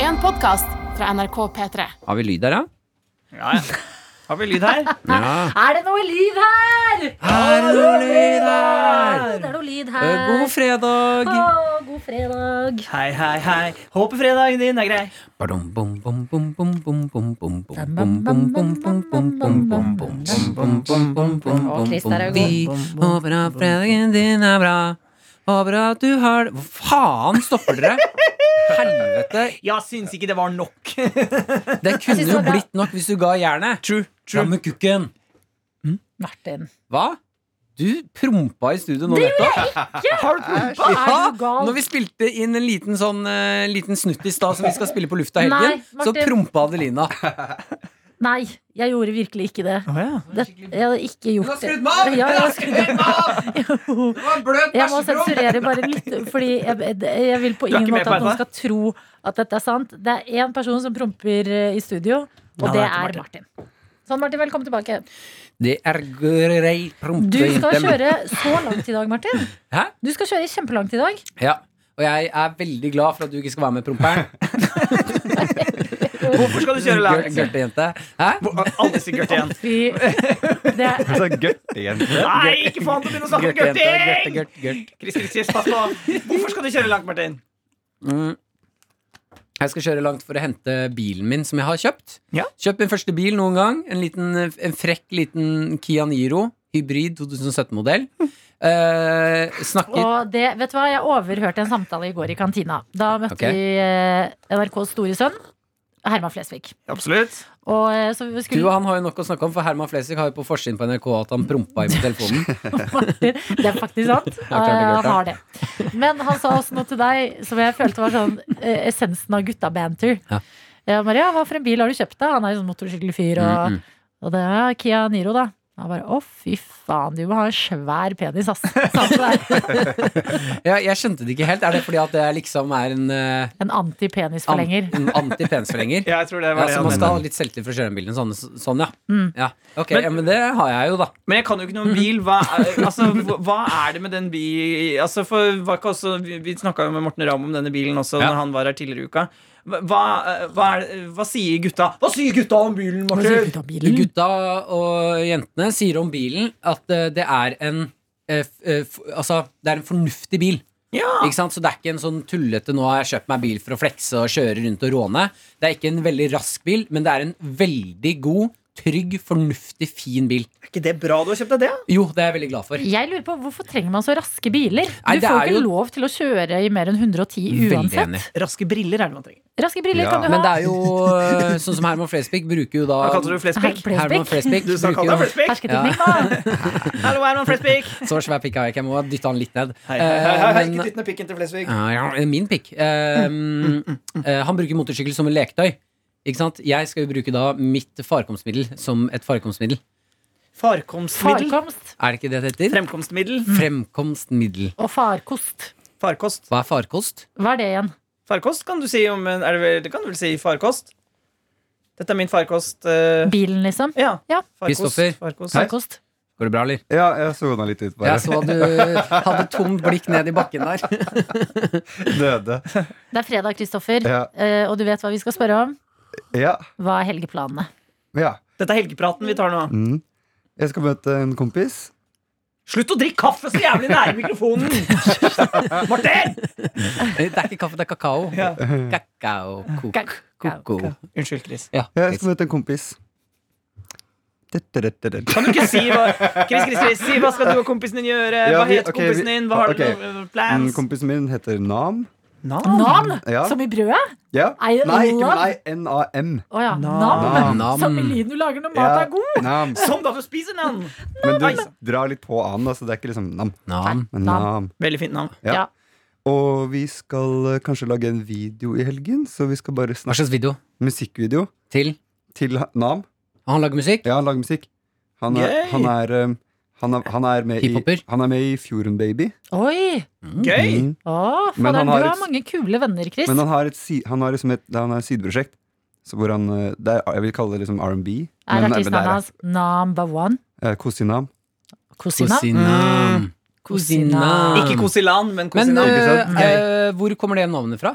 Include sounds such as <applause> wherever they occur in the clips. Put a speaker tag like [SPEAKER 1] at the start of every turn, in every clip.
[SPEAKER 1] en podkast fra NRK P3.
[SPEAKER 2] Har vi lyd der, ja?
[SPEAKER 3] Ja, ja. Har vi lyd her?
[SPEAKER 2] Ja.
[SPEAKER 4] Er det noe liv her?
[SPEAKER 2] Er det noe lyd
[SPEAKER 4] Ja,
[SPEAKER 2] her?
[SPEAKER 4] Det er noe lyd
[SPEAKER 2] Eh,
[SPEAKER 4] her.
[SPEAKER 2] God fredag!
[SPEAKER 4] Å, god fredag.
[SPEAKER 3] Hei, hei, hei. Håper fredagen din er grei.
[SPEAKER 2] Badum, bum, bum, bum, bum, bum, bum, bum, bum, bum, bum, bum, bum, bum, bum, bum, bum, bum, bum, bum, bum, bum,
[SPEAKER 4] Å, Chris, der er
[SPEAKER 2] bum.
[SPEAKER 4] jo
[SPEAKER 2] Vi håper at fredagen din er bra. Håper at du har det Hvor faen stopper
[SPEAKER 4] <laughs>
[SPEAKER 2] dere? Helvete!
[SPEAKER 3] Jeg syns ikke det var nok.
[SPEAKER 2] Det kunne
[SPEAKER 4] synes det
[SPEAKER 2] jo
[SPEAKER 4] var bra.
[SPEAKER 2] blitt nok hvis du ga jernet.
[SPEAKER 3] True,
[SPEAKER 2] Fram med kukken.
[SPEAKER 4] Martin.
[SPEAKER 2] Hva? Du prompa i studio nå nettopp.
[SPEAKER 3] Har du prompa?
[SPEAKER 4] Hva er du gal?
[SPEAKER 2] når vi spilte inn en liten, sånn, eh, liten snutt i stad som vi skal spille på lufta i helgen,
[SPEAKER 4] Nei,
[SPEAKER 2] så
[SPEAKER 4] Martin.
[SPEAKER 2] prompa Adelina.
[SPEAKER 4] Nei, jeg gjorde virkelig ikke det.
[SPEAKER 3] Å, ja.
[SPEAKER 4] det jeg hadde ikke
[SPEAKER 2] Du har
[SPEAKER 4] gjort det.
[SPEAKER 2] skrudd meg av!
[SPEAKER 4] Ja, jeg, har skrudd meg av! <laughs>
[SPEAKER 2] Det var en bløt
[SPEAKER 4] jeg må sensurere bare litt, fordi jeg, jeg vil på
[SPEAKER 3] Du er
[SPEAKER 4] ingen
[SPEAKER 3] ikke med
[SPEAKER 4] måte
[SPEAKER 3] på
[SPEAKER 4] at noen
[SPEAKER 3] dette?
[SPEAKER 4] skal tro at dette er sant. Det er én person som promper eh, i studio,
[SPEAKER 3] Ja,
[SPEAKER 4] og det
[SPEAKER 3] det er
[SPEAKER 4] er
[SPEAKER 3] til
[SPEAKER 4] Martin. Sånn, Martin, velkommen tilbake.
[SPEAKER 2] Det er grei prompe.
[SPEAKER 4] Du skal kjøre så langt i dag, Martin.
[SPEAKER 2] Hæ?
[SPEAKER 4] Du skal kjøre kjempelangt i dag.
[SPEAKER 2] Ja. Og jeg er veldig glad for at du ikke skal være med promperen.
[SPEAKER 3] Hvorfor skal du kjøre
[SPEAKER 2] Gørt-
[SPEAKER 3] langt?
[SPEAKER 2] Gørtejente. Hæ?
[SPEAKER 3] Aldri si gørting.
[SPEAKER 4] Fy, det er
[SPEAKER 5] Så gørtejente.
[SPEAKER 3] Nei, ikke faen til å begynne å snakke om
[SPEAKER 2] Gørtejente, gørte,
[SPEAKER 3] gørting!
[SPEAKER 2] gørt, gørt.
[SPEAKER 3] Chris, Chris, Chris, pass på. Hvorfor skal du kjøre langt, Martin?
[SPEAKER 2] Mm. Jeg skal kjøre langt for å hente bilen min som jeg har kjøpt.
[SPEAKER 3] Ja.
[SPEAKER 2] Kjøpt min første bil noen gang. En, liten, en frekk liten Kia Niro. Hybrid 2017-modell. Eh, snakket
[SPEAKER 4] Og det, vet du hva, jeg overhørte en samtale i går i kantina. Da møtte
[SPEAKER 2] Ok.
[SPEAKER 4] vi eh, NRKs store sønn, Herman Flesvig.
[SPEAKER 3] Absolutt.
[SPEAKER 4] Og eh, så vi
[SPEAKER 2] Du
[SPEAKER 4] skulle
[SPEAKER 2] og han har jo nok å snakke om, for Herman Flesvig har jo på forsiden på NRK at han prompa i telefonen.
[SPEAKER 4] <laughs> Det er faktisk
[SPEAKER 2] <laughs>
[SPEAKER 4] sant.
[SPEAKER 2] klart det er
[SPEAKER 4] Eh,
[SPEAKER 2] klart,
[SPEAKER 4] han har det. Men han sa også noe til deg som jeg følte var sånn eh, essensen av gutta-banter.
[SPEAKER 2] Ja.
[SPEAKER 4] Eh, Maria, hva for en bil har du kjøpt deg? Han er jo sånn motorsykkelfyr. Og,
[SPEAKER 2] Mm,
[SPEAKER 4] og det er Kia Niro, da. Han bare å, fy faen, du må ha en svær penis, ass. Sa han til deg.
[SPEAKER 2] <laughs> Ja, jeg skjønte det ikke helt. Er det fordi at det liksom er en eh,
[SPEAKER 4] En antipenisforlenger.
[SPEAKER 2] An- en Anti-penisforlenger.
[SPEAKER 3] <laughs> Ja, jeg tror det
[SPEAKER 2] Ja,
[SPEAKER 3] var det
[SPEAKER 2] så
[SPEAKER 3] han
[SPEAKER 2] man skal ha
[SPEAKER 3] mente.
[SPEAKER 2] litt selvtillit for å kjøre den bilen. Sånn, sånn ja.
[SPEAKER 4] Mm.
[SPEAKER 2] ja. Ok,
[SPEAKER 3] Men-
[SPEAKER 2] ja, men det har jeg jo, da.
[SPEAKER 3] Men jeg kan jo ikke noe om bil. Hva, er- altså, hva- hva er det med den bil... Altså, for var ikke også, vi vi snakka jo med Morten Ramm om denne bilen også
[SPEAKER 2] Ja.
[SPEAKER 3] Når han var her tidligere i uka. Hva, hva- hva, er, det- hva sier gutta? Hva sier gutta om bilen,
[SPEAKER 4] Hva
[SPEAKER 3] Martin?
[SPEAKER 4] sier du da, bilen?
[SPEAKER 2] Gutta og jentene sier om bilen at eh, det er en eh, f- eh, f- Altså, det er en fornuftig bil.
[SPEAKER 3] Ja.
[SPEAKER 2] Ikke sant? Så det er ikke en sånn tullete 'nå har jeg kjøpt meg bil for å flekse og kjøre rundt og råne'. Det er ikke en veldig rask bil, men det er en veldig god, trygg, fornuftig, fin bil.
[SPEAKER 3] Er ikke det bra du har kjøpt deg det?
[SPEAKER 2] Jo, det er jeg veldig glad for.
[SPEAKER 4] Jeg lurer på, Hvorfor trenger man så raske biler?
[SPEAKER 2] Nei,
[SPEAKER 4] du
[SPEAKER 2] det
[SPEAKER 4] får
[SPEAKER 2] er
[SPEAKER 4] jo ikke
[SPEAKER 2] jo-
[SPEAKER 4] lov til å kjøre i mer enn 110
[SPEAKER 2] Veldig
[SPEAKER 4] uansett.
[SPEAKER 2] enig.
[SPEAKER 3] Raske briller er det man trenger.
[SPEAKER 4] Raske briller
[SPEAKER 5] Ja.
[SPEAKER 4] kan du ha.
[SPEAKER 2] Men det er jo eh, sånn som Herman Flesvig bruker jo da
[SPEAKER 3] Hva kalte du Flesvig?
[SPEAKER 4] Herman
[SPEAKER 2] Herman Flesvig
[SPEAKER 3] Du sa
[SPEAKER 2] bruker
[SPEAKER 3] kalt deg
[SPEAKER 2] jo
[SPEAKER 3] Flesvig?
[SPEAKER 4] Hersketeknikk, <laughs> da.
[SPEAKER 3] Hallo, Herman Flesvig.
[SPEAKER 2] Så svær pikk har jeg ikke, jeg må dytte han litt ned.
[SPEAKER 3] Hei, hei, hei,
[SPEAKER 2] Eh,
[SPEAKER 3] hei,
[SPEAKER 2] men-
[SPEAKER 3] ikke dytt ned pikken til Flesvig.
[SPEAKER 2] Ja, ja, min pikk. Eh,
[SPEAKER 5] Mm,
[SPEAKER 2] eh, han bruker motorsykkel som en leketøy. Ikke sant? Jeg skal jo bruke da mitt farkomstmiddel som et farkomstmiddel.
[SPEAKER 3] Farkomstmiddel.
[SPEAKER 4] Farkomst
[SPEAKER 2] Er det ikke det det heter?
[SPEAKER 3] Fremkomstmiddel.
[SPEAKER 2] Fremkomstmiddel.
[SPEAKER 4] og farkost.
[SPEAKER 3] Farkost.
[SPEAKER 2] Hva er farkost?
[SPEAKER 4] Hva er det igjen?
[SPEAKER 3] Farkost kan du si om en- er det, vel, det kan du vel si farkost? Dette er min farkost. eh,
[SPEAKER 4] Bilen, liksom?
[SPEAKER 3] ja.
[SPEAKER 4] Ja.
[SPEAKER 2] Kristoffer.
[SPEAKER 3] Farkost. farkost.
[SPEAKER 4] Farkost.
[SPEAKER 2] Går det bra, eller?
[SPEAKER 5] Ja, jeg sona litt ut, bare.
[SPEAKER 2] Jeg så du hadde tomt blikk ned i bakken der.
[SPEAKER 5] <laughs> Døde.
[SPEAKER 4] Det er fredag, Kristoffer,
[SPEAKER 5] Ja.
[SPEAKER 4] eh, og du vet hva vi skal spørre om?
[SPEAKER 5] Ja.
[SPEAKER 4] Hva er helgeplanene?
[SPEAKER 5] ja.
[SPEAKER 3] Dette er helgepraten vi tar nå.
[SPEAKER 5] Mm. Jeg skal møte en kompis.
[SPEAKER 3] Slutt å drikke kaffe så jævlig nære mikrofonen! Martin!
[SPEAKER 2] Det er ikke kaffe, det er kakao.
[SPEAKER 3] Ja.
[SPEAKER 2] Kakao. ko- Koko.
[SPEAKER 3] Unnskyld, Chris.
[SPEAKER 2] Ja.
[SPEAKER 5] Jeg skal møte en kompis.
[SPEAKER 3] Kan du ikke si hva Chris, Chris, Chris, si hva skal du og kompisen din gjøre?
[SPEAKER 5] Ja,
[SPEAKER 3] Hva
[SPEAKER 5] vi-
[SPEAKER 3] heter
[SPEAKER 5] ok, vi-
[SPEAKER 3] kompisen din? Hva har
[SPEAKER 5] ok.
[SPEAKER 3] du noen
[SPEAKER 5] Mm,
[SPEAKER 3] plans?
[SPEAKER 5] Kompisen min heter Nam.
[SPEAKER 3] Nam?
[SPEAKER 4] Nam!
[SPEAKER 5] Ja.
[SPEAKER 4] Som i brødet?
[SPEAKER 5] Ja.
[SPEAKER 4] Er det
[SPEAKER 5] Nei, ikke
[SPEAKER 4] Olav?
[SPEAKER 5] nei, N-A-M.
[SPEAKER 4] Å ja.
[SPEAKER 3] Nam.
[SPEAKER 4] Nam.
[SPEAKER 2] Nam.
[SPEAKER 4] Som i lyden du lager når
[SPEAKER 5] Ja,
[SPEAKER 4] mat er god.
[SPEAKER 5] Nam.
[SPEAKER 3] <laughs> Som da du spiser navn!
[SPEAKER 5] Men du drar litt på an, da, så det er ikke liksom Nam.
[SPEAKER 2] Nam.
[SPEAKER 5] Men
[SPEAKER 4] Nam.
[SPEAKER 5] nam.
[SPEAKER 3] Veldig fint navn.
[SPEAKER 5] Ja.
[SPEAKER 4] Ja.
[SPEAKER 5] Og vi skal eh, kanskje lage en video i helgen, så vi skal bare
[SPEAKER 2] Hva
[SPEAKER 5] snakke
[SPEAKER 2] slags video?
[SPEAKER 5] musikkvideo
[SPEAKER 2] Til?
[SPEAKER 5] til ha- Nam.
[SPEAKER 2] Han lager musikk?
[SPEAKER 5] Ja, han lager musikk. Han er,
[SPEAKER 3] Gøy!
[SPEAKER 5] han er, um, han er, han er, med, i,
[SPEAKER 2] Hiphoper?
[SPEAKER 5] han er med i Fjorden Baby.
[SPEAKER 4] Oi!
[SPEAKER 3] Gøy!
[SPEAKER 5] Mm.
[SPEAKER 4] Å,
[SPEAKER 5] Men
[SPEAKER 4] fader,
[SPEAKER 5] han
[SPEAKER 4] du
[SPEAKER 5] har
[SPEAKER 4] har
[SPEAKER 5] et-
[SPEAKER 4] mange kule venner, Chris.
[SPEAKER 5] Men han har et, si- han har liksom et, han har et sideprosjekt. Så hvor han, eh, det er, jeg vil kalle det liksom R&B.
[SPEAKER 4] Er
[SPEAKER 5] men- men det
[SPEAKER 4] artisten
[SPEAKER 5] er-
[SPEAKER 4] hans number one?
[SPEAKER 5] eh, Kosinam.
[SPEAKER 4] Kosina?
[SPEAKER 2] Kosinam. Kosinam.
[SPEAKER 3] Ikke Kosiland, men
[SPEAKER 2] Mm. Men eh,
[SPEAKER 3] Kosinam.
[SPEAKER 5] Ikke sant?
[SPEAKER 2] øh, øh, hvor kommer det navnet fra?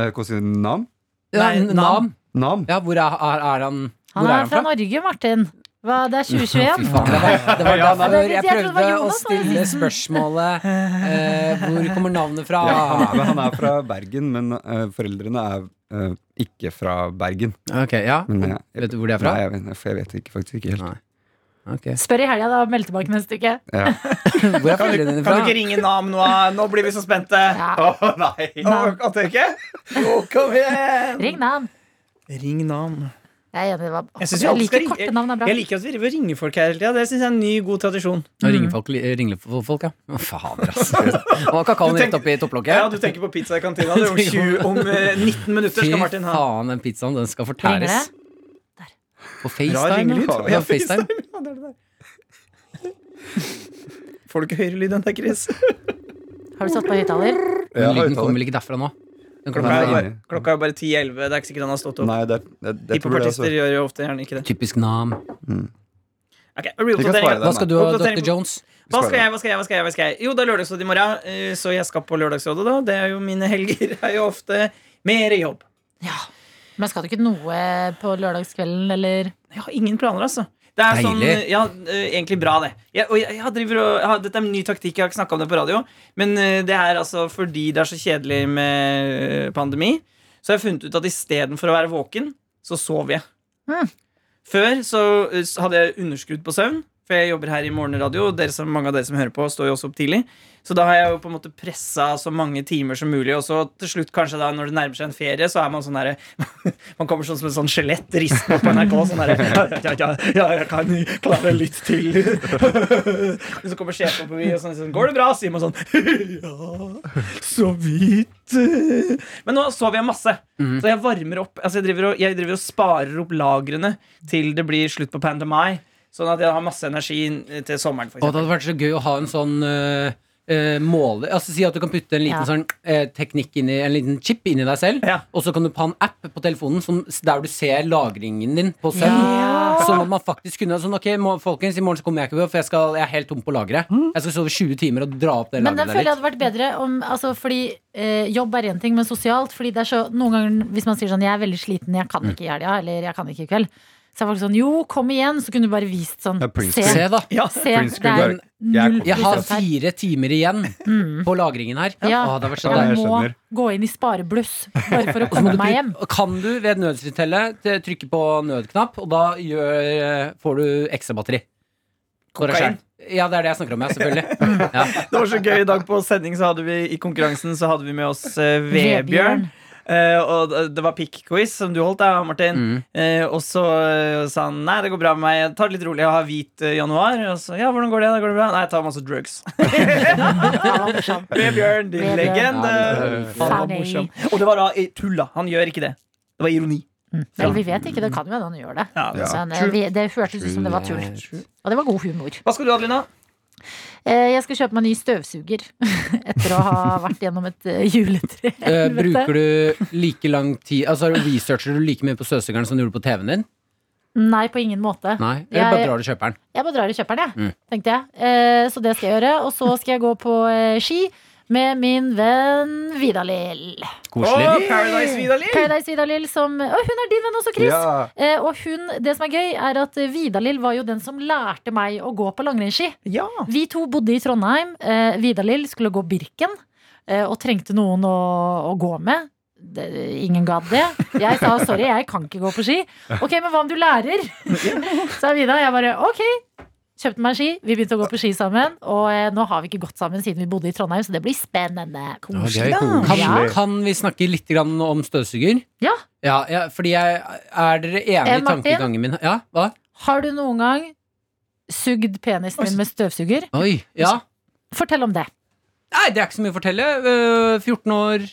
[SPEAKER 5] Eh, Kosinam?
[SPEAKER 2] Ja,
[SPEAKER 3] Nei,
[SPEAKER 2] N-
[SPEAKER 3] Nam.
[SPEAKER 2] Nam.
[SPEAKER 5] Nam?
[SPEAKER 2] Ja, hvor er, er, er han
[SPEAKER 4] Han
[SPEAKER 2] Hvor
[SPEAKER 4] er fra Norge, Martin. Hva, det
[SPEAKER 5] <laughs>
[SPEAKER 4] er 2021.
[SPEAKER 2] Faen, det var, det var
[SPEAKER 3] Ja,
[SPEAKER 4] nei.
[SPEAKER 2] derfor jeg
[SPEAKER 4] Jeg trodde det var
[SPEAKER 2] prøvde å
[SPEAKER 4] Jonas som var
[SPEAKER 2] stille spørsmålet eh, Hvor kommer navnet fra?
[SPEAKER 5] Ja, han, er, men han er fra Bergen, men eh, foreldrene er eh, ikke fra Bergen.
[SPEAKER 2] Ok, ja
[SPEAKER 5] Men jeg,
[SPEAKER 2] Vet du hvor det er fra?
[SPEAKER 5] Nei, jeg, vet- for jeg vet ikke, faktisk ikke helt.
[SPEAKER 2] Nei. Ok.
[SPEAKER 4] Spør i helga, da. Meld tilbake neste uke.
[SPEAKER 2] Hvor er foreldrene dine
[SPEAKER 3] Kan du
[SPEAKER 2] fra?
[SPEAKER 3] ikke ringe Nam nå? Nå blir vi så spente.
[SPEAKER 4] Ja.
[SPEAKER 3] Å nei. Å, kan du ikke? Å, kom igjen.
[SPEAKER 4] Ring navn.
[SPEAKER 3] Ring Nam.
[SPEAKER 4] Jeg er enig. Det var,
[SPEAKER 3] Jeg synes vi alltid skal
[SPEAKER 4] liker
[SPEAKER 3] ringe-
[SPEAKER 4] korte navn er bra.
[SPEAKER 3] Jeg liker at vi driver og ringer folk her hele tida. Det syns jeg er en ny, god tradisjon.
[SPEAKER 2] Nå ringer folk, ringer folk ja Å, Fader ass Og kakaoen
[SPEAKER 3] Du tenk-
[SPEAKER 2] rett opp i topplokket
[SPEAKER 3] Ja, Du tenker på pizza i kantina. Det er om, 20, om eh, 19 minutter skal Martin ha.
[SPEAKER 2] faen, den pizzaen, den skal
[SPEAKER 4] Ringer
[SPEAKER 2] fortæres.
[SPEAKER 4] det?
[SPEAKER 2] På
[SPEAKER 3] Rar
[SPEAKER 2] FaceTime?
[SPEAKER 3] ringelyd.
[SPEAKER 2] ja.
[SPEAKER 3] Ja,
[SPEAKER 2] Ja, FaceTime.
[SPEAKER 3] <laughs> Ja, det er det der. Får du ikke høyere lyd enn det, Chris?
[SPEAKER 4] Har du satt på høyttaler?
[SPEAKER 5] Ja,
[SPEAKER 2] Men lyden
[SPEAKER 5] høyttaler.
[SPEAKER 2] kommer vel ikke derfra nå? Den
[SPEAKER 3] Klokka
[SPEAKER 2] kommer
[SPEAKER 3] er jo
[SPEAKER 2] derfra.
[SPEAKER 5] Nei.
[SPEAKER 3] bare, klokka er jo bare 10-11. Det er ikke sikkert han har stått opp.
[SPEAKER 5] Nei, det, er- det, det, jeg tror det,
[SPEAKER 3] Hiphop-artister gjør jo ofte gjerne ikke det.
[SPEAKER 2] Typisk nam.
[SPEAKER 3] Ok,
[SPEAKER 5] Vi kan
[SPEAKER 3] real-totering.
[SPEAKER 5] spare
[SPEAKER 2] Hva skal du ha,
[SPEAKER 3] Oppdatering
[SPEAKER 2] Dr.
[SPEAKER 3] på-
[SPEAKER 2] Jones?
[SPEAKER 3] Hva skal jeg, hva skal jeg, hva skal jeg? Hva skal jeg? Jo, det er lørdagsråd i morgen, eh, så jeg skal på lørdagsrådet, da. Det er jo mine helger. <laughs> er jo ofte mer jobb.
[SPEAKER 4] Ja. Men skal du ikke noe på lørdagskvelden, eller?
[SPEAKER 3] Jeg har ingen planer, altså. Det er sånn,
[SPEAKER 2] Deilig.
[SPEAKER 3] ja, eh, Egentlig bra, det. Jeg, og jeg, jeg driver og, jeg har, dette er en ny taktikk, jeg har ikke snakka om det på radio. Men eh, det er altså fordi det er så kjedelig med eh, pandemi, så har jeg funnet ut at istedenfor å være våken, så sover jeg.
[SPEAKER 4] Mm.
[SPEAKER 3] Før så eh, s- hadde jeg underskudd på søvn, for jeg jobber her i morgenradio. Og dere som, mange av dere som hører på, står jo også opp tidlig. Så da har jeg jo på en måte pressa så mange timer som mulig. Og så til slutt, kanskje da når det nærmer seg en ferie, så er man sånn herre <laughs> Man kommer sånn som et sånn skjelett ristende på NRK. Sånn herre ja, ja, ja, ja, jeg kan klare litt til. <laughs> Men så kommer sjefen forbi og sånn, sånn Går det bra? sier man sånn <laughs> Ja, så vidt. Men nå sover jeg masse. Så jeg varmer opp. Altså jeg, driver og, jeg driver og sparer opp lagrene til det blir slutt på Pandemai. Sånn at jeg har masse energi eh, til sommeren. For
[SPEAKER 2] Og det
[SPEAKER 3] eksempel.
[SPEAKER 2] hadde vært så gøy å ha en sånn øh, øh, måler Altså Si at du kan putte en liten
[SPEAKER 4] Ja.
[SPEAKER 2] sånn øh, teknikk inni En liten chip inni deg selv,
[SPEAKER 3] Ja.
[SPEAKER 2] og så kan du ha en app på telefonen som, der du ser lagringen din på søvn.
[SPEAKER 4] Ja.
[SPEAKER 2] Sånn at man faktisk kunne sånn, Ok, må- folkens, i morgen så kommer jeg ikke, for jeg, skal, jeg er helt tom på lageret. Jeg skal sove 20 timer og dra opp det
[SPEAKER 4] Men
[SPEAKER 2] lageret der
[SPEAKER 4] den føler jeg
[SPEAKER 2] litt.
[SPEAKER 4] hadde vært bedre om altså, Fordi eh, jobb er én ting, men sosialt Fordi det er så, noen ganger hvis man sier sånn Jeg er veldig sliten, jeg kan ikke i helga, eller jeg kan ikke i kveld Så er folk sånn, jo, kom igjen Så kunne du bare vist sånn,
[SPEAKER 5] Ja, print
[SPEAKER 4] se,
[SPEAKER 2] Se, da.
[SPEAKER 3] Ja.
[SPEAKER 4] se
[SPEAKER 5] Print
[SPEAKER 4] Det
[SPEAKER 5] screen
[SPEAKER 4] er
[SPEAKER 5] bare, jeg
[SPEAKER 4] null
[SPEAKER 5] kommer
[SPEAKER 2] Jeg har
[SPEAKER 4] prosent her
[SPEAKER 2] fire timer igjen
[SPEAKER 4] Mm.
[SPEAKER 2] på lagringen her.
[SPEAKER 4] Ja.
[SPEAKER 2] Å, det har vært så
[SPEAKER 5] Ja,
[SPEAKER 2] deilig.
[SPEAKER 4] Jeg
[SPEAKER 5] jeg
[SPEAKER 4] må
[SPEAKER 5] skjønner.
[SPEAKER 4] gå inn i sparebluss Bare for å
[SPEAKER 2] Og <laughs> så må
[SPEAKER 4] komme
[SPEAKER 2] du
[SPEAKER 4] meg
[SPEAKER 2] trykke-
[SPEAKER 4] hjem
[SPEAKER 2] Kan du ved nødstilfellet t- trykke på nødknapp, og da gjør, eh, får du ekstra batteri. For deg
[SPEAKER 3] Kokain.
[SPEAKER 2] selv. Ja, det er det jeg snakker om, ja, selvfølgelig. Ja.
[SPEAKER 3] Det var så gøy. I dag på sending så hadde vi i konkurransen så hadde vi med oss eh, Vebjørn.
[SPEAKER 4] Vebjørn.
[SPEAKER 3] Eh, og det- det var pick-quiz som du holdt, da, Martin.
[SPEAKER 2] Mm.
[SPEAKER 3] Eh, og så eh, sa han nei, det går bra med meg. Jeg tar det litt rolig, jeg har hvit eh, januar. Og så ja, hvordan går det? da? Går det bra? Nei, jeg tar masse drugs. <laughs> Vebjørn, din
[SPEAKER 4] Vebjørn.
[SPEAKER 3] legende.
[SPEAKER 2] Ja, det-
[SPEAKER 3] Han var
[SPEAKER 4] Funny.
[SPEAKER 3] morsom. Og det var da eh, tull, da. Han gjør ikke det. Det var ironi.
[SPEAKER 4] Vel, vi vet ikke, det kan jo hende han gjør det
[SPEAKER 3] Ja,
[SPEAKER 5] Ja.
[SPEAKER 4] Men eh, vi, det hørtes ut som det var tull
[SPEAKER 2] True.
[SPEAKER 4] Og det var god humor
[SPEAKER 3] Hva skal du, Adelina?
[SPEAKER 4] Eh, Jeg skal kjøpe meg ny støvsuger <laughs> etter å ha vært gjennom et eh, juletre. <laughs>
[SPEAKER 2] Eh, bruker du like lang tid Altså Researcher du like mye på støvsugeren som du gjorde på TV-en din?
[SPEAKER 4] Nei, på ingen måte.
[SPEAKER 2] Nei? Eller
[SPEAKER 4] Jeg-
[SPEAKER 2] bare drar du kjøperen?
[SPEAKER 4] Jeg bare drar og kjøper den, jeg.
[SPEAKER 2] Mm.
[SPEAKER 4] Tenkte jeg. Eh, Så det skal jeg gjøre. Og så skal jeg gå på eh, ski med min venn Vidalil.
[SPEAKER 2] Koselig.
[SPEAKER 3] Å, Paradise Vidalil!
[SPEAKER 4] Paradise Vidalil som Å, hun er din venn også, Chris!
[SPEAKER 5] Ja.
[SPEAKER 4] Eh, Og hun, det som er gøy, er at Vidalil var jo den som lærte meg å gå på langrennsski.
[SPEAKER 3] Ja.
[SPEAKER 4] Vi to bodde i Trondheim. Eh, Vidalil skulle gå Birken eh, og trengte noen å, å gå med. Det, ingen gadd det. Jeg sa sorry, jeg kan ikke gå på ski. Ok, men hva om du
[SPEAKER 2] <laughs>
[SPEAKER 4] lærer? Sa Vida. Jeg bare ok. Kjøpte meg ski, vi begynte å gå på ski sammen. Og eh, nå har vi ikke gått sammen siden vi bodde i Trondheim, så det blir spennende.
[SPEAKER 2] Det var
[SPEAKER 4] Koselig.
[SPEAKER 2] gøy. Kan,
[SPEAKER 4] Ja.
[SPEAKER 2] kan vi snakke litt grann om støvsuger?
[SPEAKER 4] Ja.
[SPEAKER 2] Ja, ja, fordi jeg Er dere enige
[SPEAKER 4] Eh,
[SPEAKER 2] i
[SPEAKER 4] Martin?
[SPEAKER 2] tankegangen min? Ja, hva?
[SPEAKER 4] Har du noen gang sugd penisen din med støvsuger?
[SPEAKER 2] Oi, ja
[SPEAKER 4] Fortell om det.
[SPEAKER 2] Nei, det er ikke så mye å fortelle. Eh, 14 år,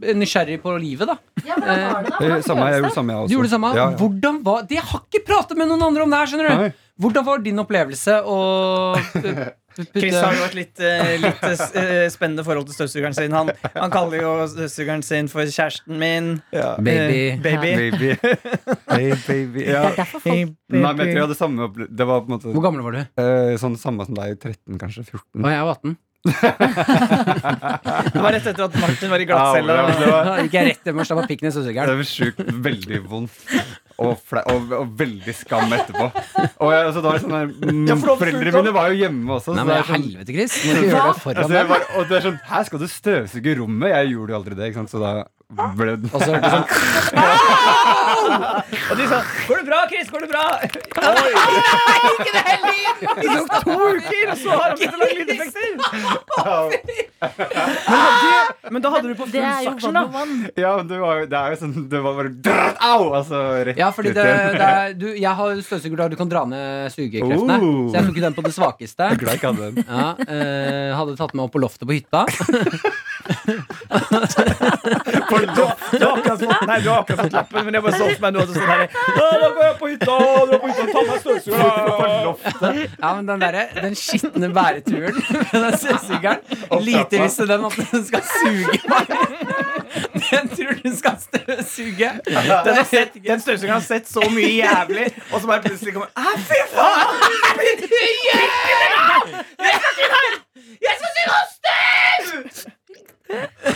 [SPEAKER 2] eh, nysgjerrig på livet, da.
[SPEAKER 5] Eh, Samme, jeg gjorde det samme, jeg også.
[SPEAKER 2] Du gjorde det samme.
[SPEAKER 5] Ja, ja.
[SPEAKER 2] Hvordan var Det jeg har ikke pratet med noen andre om det her, skjønner du.
[SPEAKER 5] Nei.
[SPEAKER 2] Hvordan var din opplevelse å
[SPEAKER 5] <laughs>
[SPEAKER 2] eh, putte
[SPEAKER 3] Chris har jo et litt, eh, litt eh, s- eh, spennende forhold til støvsugeren sin. Han, han kaller jo støvsugeren sin for kjæresten min.
[SPEAKER 5] Ja.
[SPEAKER 2] Baby.
[SPEAKER 3] Eh, baby.
[SPEAKER 2] <laughs>
[SPEAKER 5] Baby. Hey, baby.
[SPEAKER 4] Det
[SPEAKER 5] Ja.
[SPEAKER 4] er derfor folk
[SPEAKER 3] Hey, baby.
[SPEAKER 5] Nei, men jeg tror jeg hadde samme opple- Det var på en måte
[SPEAKER 2] Hvor gammel var du?
[SPEAKER 5] eh, sånn samme som deg, 13 kanskje? 14?
[SPEAKER 2] Å, jeg var 18.
[SPEAKER 3] Det var rett etter at Martin var i glattcella.
[SPEAKER 5] Au, det var-
[SPEAKER 2] Gikk jeg rett hjem og slappa pikken i
[SPEAKER 5] Det
[SPEAKER 2] søskenhjernen.
[SPEAKER 5] var sjukt veldig vondt. Og, fle og, og veldig skam etterpå. Og jeg, altså, da var det sånn der, mm,
[SPEAKER 3] Ja, for det var
[SPEAKER 5] Foreldrene
[SPEAKER 3] fullt opp.
[SPEAKER 5] mine var jo hjemme også.
[SPEAKER 2] Nei,
[SPEAKER 5] Så
[SPEAKER 2] men
[SPEAKER 5] det er sånn,
[SPEAKER 2] helvete, Chris. Må du gjøre det
[SPEAKER 5] altså,
[SPEAKER 2] foran
[SPEAKER 5] <laughs> jeg
[SPEAKER 2] dem?
[SPEAKER 5] bare, og det er sånn Her skal du støvsuge rommet! Jeg gjorde jo aldri det. Ikke sant? Så da ble det
[SPEAKER 2] Og så hørte jeg sånn
[SPEAKER 3] Og de sa 'Går det bra, Chris? Går det bra?' <laughs> I sånn to uker, og så har han begynt å lage lydeffekter! Men, hadde- men da hadde du på
[SPEAKER 4] Det
[SPEAKER 3] full
[SPEAKER 4] er jo
[SPEAKER 3] saksjon, da.
[SPEAKER 4] one on one.
[SPEAKER 5] <laughs> Ja, men det var, jo- det er jo sånn Det var bare drrrt, Au! Altså rett
[SPEAKER 2] Ja, fordi
[SPEAKER 5] ut
[SPEAKER 2] det,
[SPEAKER 5] igjen.
[SPEAKER 2] det er, du, jeg har støvsuger der du kan dra ned sugekreftene.
[SPEAKER 5] Oh.
[SPEAKER 2] Så jeg tok den på det svakeste.
[SPEAKER 5] Jeg er glad jeg ikke hadde den.
[SPEAKER 2] Ja, eh, hadde tatt meg opp på loftet på hytta.
[SPEAKER 3] For du, du, har akkurat fått, nei, du har akkurat fått lappen, men jeg bare så for meg nå at du <laughs> står sånn her «Å, Da går jeg på hytta, å, dra på hytta, ta meg støvsugeren.
[SPEAKER 2] Ja, men den derre, den skitne bæreturen <laughs> med den støvsugeren Lite visste den at den skal suge meg. Den tror den skal støvsuge.
[SPEAKER 3] Den, har sett- den støvsugeren har sett så mye jævlig, og så bare plutselig kommer Æ, fy <laughs> faen!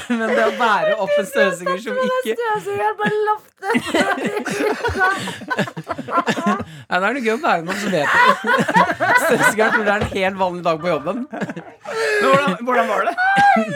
[SPEAKER 2] Men det å bære opp en støvsuger som ikke
[SPEAKER 4] Støvsugeren på loftet.
[SPEAKER 2] Nei, Da er det gøy å bære noen som vet det. Støvsugeren tror det er en helt vanlig dag på jobben.
[SPEAKER 3] Men hvordan, hvordan var det?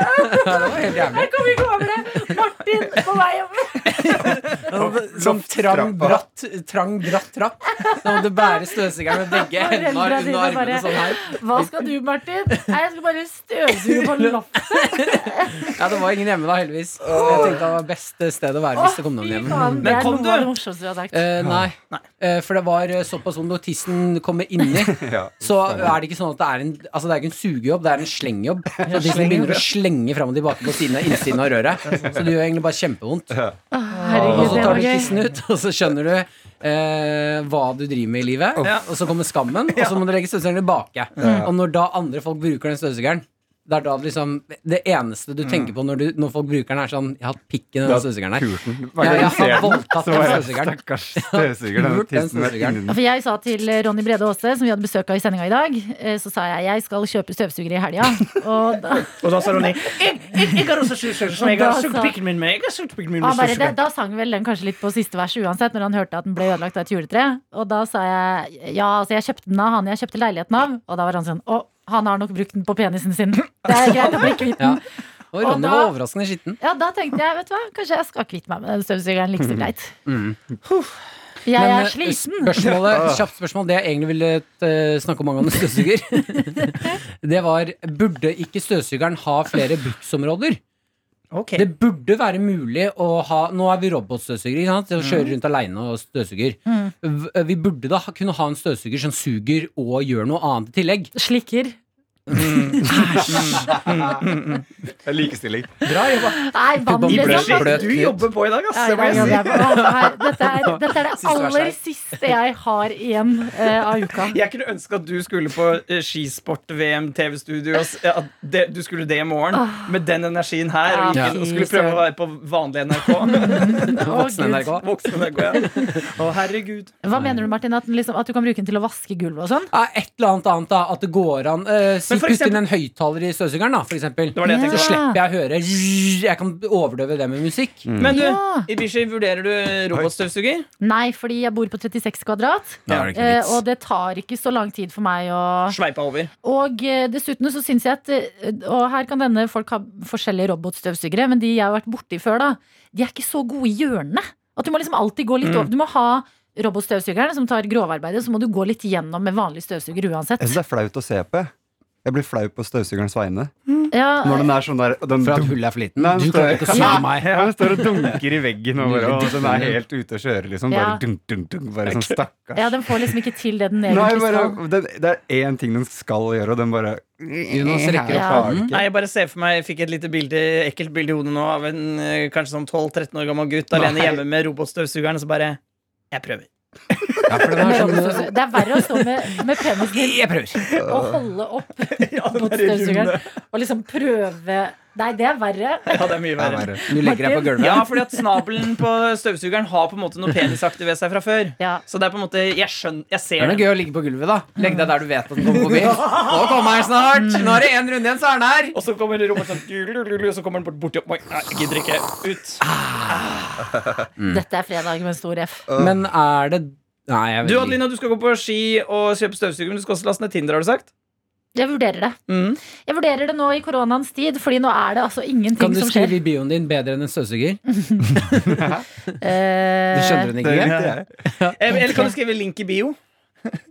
[SPEAKER 2] Ja, det var helt jævlig.
[SPEAKER 4] Jeg kom ikke over det. Martin på vei over.
[SPEAKER 2] Sånn trang,
[SPEAKER 5] Lofttrappa.
[SPEAKER 2] bratt, trang, bratt trapp. Da måtte du bære støvsugeren med begge hendene
[SPEAKER 4] Foreldra
[SPEAKER 2] under
[SPEAKER 4] dine
[SPEAKER 2] armene
[SPEAKER 4] bare-
[SPEAKER 2] sånn her.
[SPEAKER 4] Hva skal du, Martin? Nei, jeg skal bare støvsuge på loftet.
[SPEAKER 2] Ja, det var ingen hjemme da, heldigvis. Jeg tenkte det var beste sted å være hvis det kom noen hjem.
[SPEAKER 4] faen, det
[SPEAKER 3] Men
[SPEAKER 4] er
[SPEAKER 3] kom
[SPEAKER 4] noe
[SPEAKER 3] du?
[SPEAKER 4] av det morsomste du har sagt.
[SPEAKER 2] Eh, nei, Eh, for det var eh, såpass vondt når tissen kommer inni.
[SPEAKER 5] Ja.
[SPEAKER 2] Så er det ikke sånn at det er en Altså det er ikke en sugejobb, det er en slengjobb. Så tissen begynner å slenge fram og tilbake på siden av innsiden av røret. Så det gjør egentlig bare kjempevondt. Og
[SPEAKER 4] Herregud,
[SPEAKER 2] så
[SPEAKER 4] det
[SPEAKER 2] tar
[SPEAKER 4] var
[SPEAKER 2] du
[SPEAKER 4] gøy.
[SPEAKER 2] tissen ut, og så skjønner du eh, hva du driver med i livet.
[SPEAKER 3] Ja.
[SPEAKER 2] Og så kommer skammen, og så må du legge støvsugeren tilbake. Og når da andre folk bruker den støvsugeren det er da det liksom Det eneste du
[SPEAKER 4] Mm.
[SPEAKER 2] tenker på når, du, når folk bruker den, er sånn Jeg har hatt pikken i
[SPEAKER 5] Da
[SPEAKER 2] den støvsugeren her.
[SPEAKER 5] pult den.
[SPEAKER 2] Ja, jeg
[SPEAKER 5] Hver gang
[SPEAKER 2] har
[SPEAKER 5] jeg
[SPEAKER 2] voldtatt
[SPEAKER 5] ser den, så
[SPEAKER 2] den
[SPEAKER 5] bare
[SPEAKER 2] støvsugeren.
[SPEAKER 5] Stakkars støvsuger. Den
[SPEAKER 2] Pult den
[SPEAKER 5] tissen er
[SPEAKER 2] støvsugeren.
[SPEAKER 5] innen
[SPEAKER 4] Ja, for jeg sa til Ronny Brede Aase, som vi hadde besøk av i sendinga i dag, eh, så sa jeg jeg skal kjøpe støvsugere i helga. Og da,
[SPEAKER 3] Og da sa Ronny Jeg, jeg, jeg har også støvsuger som jeg har sugd pikken min med. Jeg har sugd pikken min med
[SPEAKER 4] og han bare,
[SPEAKER 3] støvsugeren.
[SPEAKER 4] det, da sang vel den kanskje litt på siste vers uansett, når han hørte at den ble ødelagt av et juletre. Og da sa jeg ja, altså jeg kjøpte den av han jeg kjøpte leiligheten av. Og da var han sånn å, han har nok brukt den på penisen
[SPEAKER 2] <laughs>
[SPEAKER 4] sin. Det er greit å bli kvitt
[SPEAKER 2] Ja.
[SPEAKER 4] den.
[SPEAKER 2] Og Ronny
[SPEAKER 4] da-
[SPEAKER 2] var overraskende skitten.
[SPEAKER 4] Ja, da tenkte jeg, vet du hva, kanskje jeg skal kvitte meg med den støvsugeren like så greit. Huff. Jeg
[SPEAKER 2] Mm. Men,
[SPEAKER 4] er
[SPEAKER 2] eh,
[SPEAKER 4] sliten. <laughs>
[SPEAKER 2] Spørsmålet, kjapt spørsmål, det jeg egentlig ville eh, snakke om angående støvsuger, <laughs> det var burde ikke støvsugeren ha flere bruksområder? <laughs>
[SPEAKER 3] Ok.
[SPEAKER 2] Det burde være mulig å ha Nå er vi robotstøvsugere, ikke sant?
[SPEAKER 3] Mm.
[SPEAKER 2] Kjører rundt aleine og støvsuger. V- Vi burde da ha- kunne ha en støvsuger som suger og gjør noe annet i tillegg.
[SPEAKER 4] Slikker.
[SPEAKER 5] Det er likestilling.
[SPEAKER 2] Bra jobba.
[SPEAKER 3] <laughs>
[SPEAKER 4] Nei, vann,
[SPEAKER 2] Puppa bløt
[SPEAKER 4] liksom.
[SPEAKER 3] Shit, du
[SPEAKER 2] ut.
[SPEAKER 3] jobber på i dag, ass.
[SPEAKER 4] Nei,
[SPEAKER 3] Det må
[SPEAKER 4] da
[SPEAKER 3] jeg si.
[SPEAKER 4] jobber jeg på. Å, her- Dette er, dette er det
[SPEAKER 2] Siste vers her.
[SPEAKER 4] aller siste jeg har igjen eh, av uka.
[SPEAKER 3] Jeg kunne ønske at du skulle på eh, skisport-VM, TV-studio. og s- ja, At det, du skulle det i morgen,
[SPEAKER 4] Ah.
[SPEAKER 3] med den energien her. Og,
[SPEAKER 2] Ja,
[SPEAKER 3] ikke, og skulle prøve å være på vanlig NRK. <laughs>
[SPEAKER 2] Voksen
[SPEAKER 4] Gud.
[SPEAKER 2] NRK.
[SPEAKER 3] Voksen NRK, ja. Å, herregud.
[SPEAKER 4] Hva mener du, Martin? At, den liksom, at du kan bruke den til å vaske gulvet og sånn?
[SPEAKER 2] Ja, et eller annet annet, da. At det går an. eh, si,
[SPEAKER 3] for
[SPEAKER 2] putt inn
[SPEAKER 3] eksempel-
[SPEAKER 2] en høyttaler i støvsugeren, da, for eksempel.
[SPEAKER 3] Det var det jeg
[SPEAKER 4] Ja.
[SPEAKER 3] tenkte.
[SPEAKER 2] Så slipper jeg å høre Jeg kan overdøve det med musikk.
[SPEAKER 3] Men du,
[SPEAKER 4] Ja.
[SPEAKER 3] Ibishi, vurderer du robotstøvsuger?
[SPEAKER 4] Nei, fordi jeg bor på 36 kvadrat.
[SPEAKER 2] Da er det ikke
[SPEAKER 4] eh,
[SPEAKER 2] vits.
[SPEAKER 4] og det tar ikke så lang tid for meg å
[SPEAKER 3] Sveipa over.
[SPEAKER 4] Og eh, dessuten så syns jeg at eh, Og her kan denne folk ha forskjellige robotstøvsugere, men de jeg har vært borti før, da, de er ikke så gode i hjørnene. At du må liksom alltid gå litt
[SPEAKER 3] Mm.
[SPEAKER 4] over. Du må ha robotstøvsugeren som tar grovarbeidet, så må du gå litt gjennom med vanlig støvsuger uansett.
[SPEAKER 5] Jeg syns det er flaut å se på. jeg. Jeg blir flau på støvsugerens vegne.
[SPEAKER 4] Ja,
[SPEAKER 5] Når den er sånn der og den
[SPEAKER 2] For at
[SPEAKER 5] dum-
[SPEAKER 2] hullet er for liten.
[SPEAKER 5] Nei,
[SPEAKER 2] Du
[SPEAKER 5] den
[SPEAKER 2] klarer
[SPEAKER 5] står-
[SPEAKER 2] ikke å se
[SPEAKER 5] Ja.
[SPEAKER 2] meg.
[SPEAKER 5] Ja, den står og dunker i veggen, og, bare, og den er helt ute å kjøre, liksom. Bare
[SPEAKER 4] Ja.
[SPEAKER 5] dunk, dunk, dunk. Bare sånn stakkars.
[SPEAKER 4] ja, den får liksom ikke til det den
[SPEAKER 5] Nei,
[SPEAKER 4] egentlig
[SPEAKER 5] bare,
[SPEAKER 4] skal.
[SPEAKER 5] den, det er én ting den skal gjøre, og den bare
[SPEAKER 2] Jonas rekker
[SPEAKER 4] opp
[SPEAKER 5] Klarer
[SPEAKER 2] hånden.
[SPEAKER 5] ikke.
[SPEAKER 3] Nei, Jeg bare ser for meg, jeg fikk et lite bilde, ekkelt bilde i hodet nå av en eh, kanskje sånn 12-13 år gammel gutt alene hjemme med robotstøvsugeren, og så bare Jeg prøver.
[SPEAKER 2] Ja, for den
[SPEAKER 4] Med
[SPEAKER 2] er sånn
[SPEAKER 4] robotstøvsuger. Det er verre å stå med, med
[SPEAKER 5] <laughs>
[SPEAKER 2] <laughs>
[SPEAKER 4] penisen
[SPEAKER 2] Jeg prøver.
[SPEAKER 4] og holde
[SPEAKER 3] <laughs>
[SPEAKER 4] opp
[SPEAKER 3] Ja, den der runde.
[SPEAKER 4] robotstøvsugeren og liksom prøve Nei, det er verre.
[SPEAKER 3] <laughs> Ja, det er mye
[SPEAKER 5] Det er
[SPEAKER 3] verre.
[SPEAKER 5] verre.
[SPEAKER 2] Du legger deg på gulvet.
[SPEAKER 3] Ja, fordi at snabelen på støvsugeren har på en måte noe penisaktig ved seg fra før.
[SPEAKER 4] Ja.
[SPEAKER 3] Så det er på en måte Jeg skjønner Jeg
[SPEAKER 2] Det er
[SPEAKER 3] ser
[SPEAKER 2] noe
[SPEAKER 3] det.
[SPEAKER 2] gøy å ligge på gulvet, da. Legg deg der du vet at den kommer forbi. Nå kommer han snart! Nå er det én runde igjen, så er han her.
[SPEAKER 3] Og så kommer rommet sånn lulululu, Og så kommer den bort borti Oi, nei, jeg gidder ikke. Ut.
[SPEAKER 4] Dette er fredag med en stor F.
[SPEAKER 2] Men er det Nei, jeg
[SPEAKER 3] Du
[SPEAKER 2] vet ikke.
[SPEAKER 3] Adelina, du skal gå på ski og kjøpe støvsuger, men du skal også laste ned Tinder, har du sagt?
[SPEAKER 4] Jeg vurderer det.
[SPEAKER 3] Mm.
[SPEAKER 4] Jeg vurderer det nå i koronaens tid, fordi nå er det altså
[SPEAKER 2] Kan
[SPEAKER 4] ingenting
[SPEAKER 2] du
[SPEAKER 4] som
[SPEAKER 2] skrive
[SPEAKER 4] skjer.
[SPEAKER 2] i bioen din bedre enn en støvsuger? Det skjønner
[SPEAKER 4] Eh,
[SPEAKER 2] hun
[SPEAKER 5] Det
[SPEAKER 2] ikke.
[SPEAKER 5] likte jeg.
[SPEAKER 3] Eh, Eller eller kan du skrive link i bio?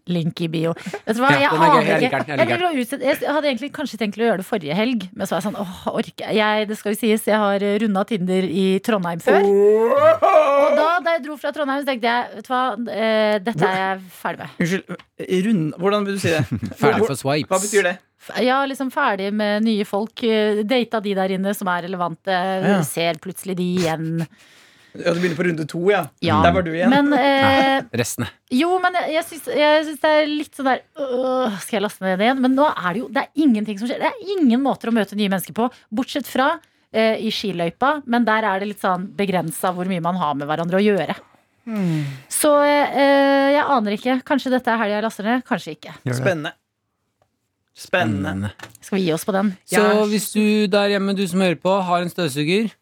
[SPEAKER 4] link i bio. Vet du hva,
[SPEAKER 2] Ja,
[SPEAKER 4] jeg
[SPEAKER 2] den er gøy.
[SPEAKER 4] aner
[SPEAKER 2] Jeg
[SPEAKER 4] ikke.
[SPEAKER 2] liker den, jeg liker
[SPEAKER 4] Jeg, vil utsette- jeg hadde egentlig kanskje tenkt å gjøre det forrige helg, men så er jeg sånn åh, orker jeg? jeg Det skal jo sies, jeg har runda Tinder i Trondheim før. Og da, da jeg dro fra Trondheim, så tenkte jeg vet du hva, eh, dette er jeg ferdig med.
[SPEAKER 3] Unnskyld. øh, Rund... Hvordan vil du si det?
[SPEAKER 2] <laughs> Ferdig for
[SPEAKER 3] Hva
[SPEAKER 2] swipes.
[SPEAKER 3] betyr det?
[SPEAKER 4] F- Jeg er liksom ferdig med nye folk. eh, Data de der inne som er relevante.
[SPEAKER 3] Ja.
[SPEAKER 4] Ser plutselig de igjen.
[SPEAKER 3] Ja, Du begynner på runde to, ja.
[SPEAKER 4] Ja.
[SPEAKER 3] Der var du igjen.
[SPEAKER 4] Men eh,
[SPEAKER 2] Restene.
[SPEAKER 4] Jo, men jeg, jeg, syns, jeg syns det er litt sånn der øh, Skal jeg laste ned det igjen? Men nå er det jo det er ingenting som skjer. Det er ingen måter å møte nye mennesker på, bortsett fra eh, i skiløypa. Men der er det litt sånn begrensa hvor mye man har med hverandre å gjøre. Så eh, jeg aner ikke. Kanskje dette er helga jeg laster ned. Kanskje ikke.
[SPEAKER 3] Spennende. Spennende.
[SPEAKER 4] Skal vi gi oss på den?
[SPEAKER 2] Mm. Så
[SPEAKER 3] Ja.
[SPEAKER 2] hvis du der hjemme, du som hører på, har en støvsuger,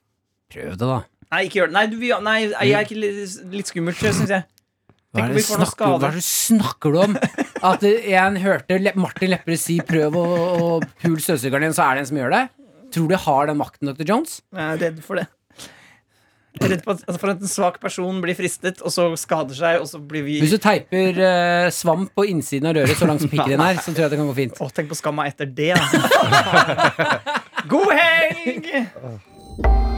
[SPEAKER 2] prøv det, da.
[SPEAKER 3] Nei, ikke gjør det. Nei, du, vi- nei jeg er ikke litt, litt skummelt, syns jeg.
[SPEAKER 2] Hva er
[SPEAKER 3] Tenk om
[SPEAKER 2] det
[SPEAKER 3] vi
[SPEAKER 2] du
[SPEAKER 3] får noe
[SPEAKER 2] snakker, hva er det du snakker du om?
[SPEAKER 3] <laughs>
[SPEAKER 2] At eh, en hørte Le Martin Lepperød si 'prøv å, å pule støvsugeren din', så er det en som gjør det? Tror du de har den makten, dr. Jones?
[SPEAKER 3] Jeg er redd for det. Jeg er redd for at, altså, for at en svak person blir fristet, og så skader seg, og så blir vi
[SPEAKER 2] Hvis du teiper eh, svamp på innsiden av røret så langt som pikken din er, så tror jeg det kan gå fint.
[SPEAKER 3] Å, tenk på skamma etter det,
[SPEAKER 2] <laughs>
[SPEAKER 3] altså. God helg!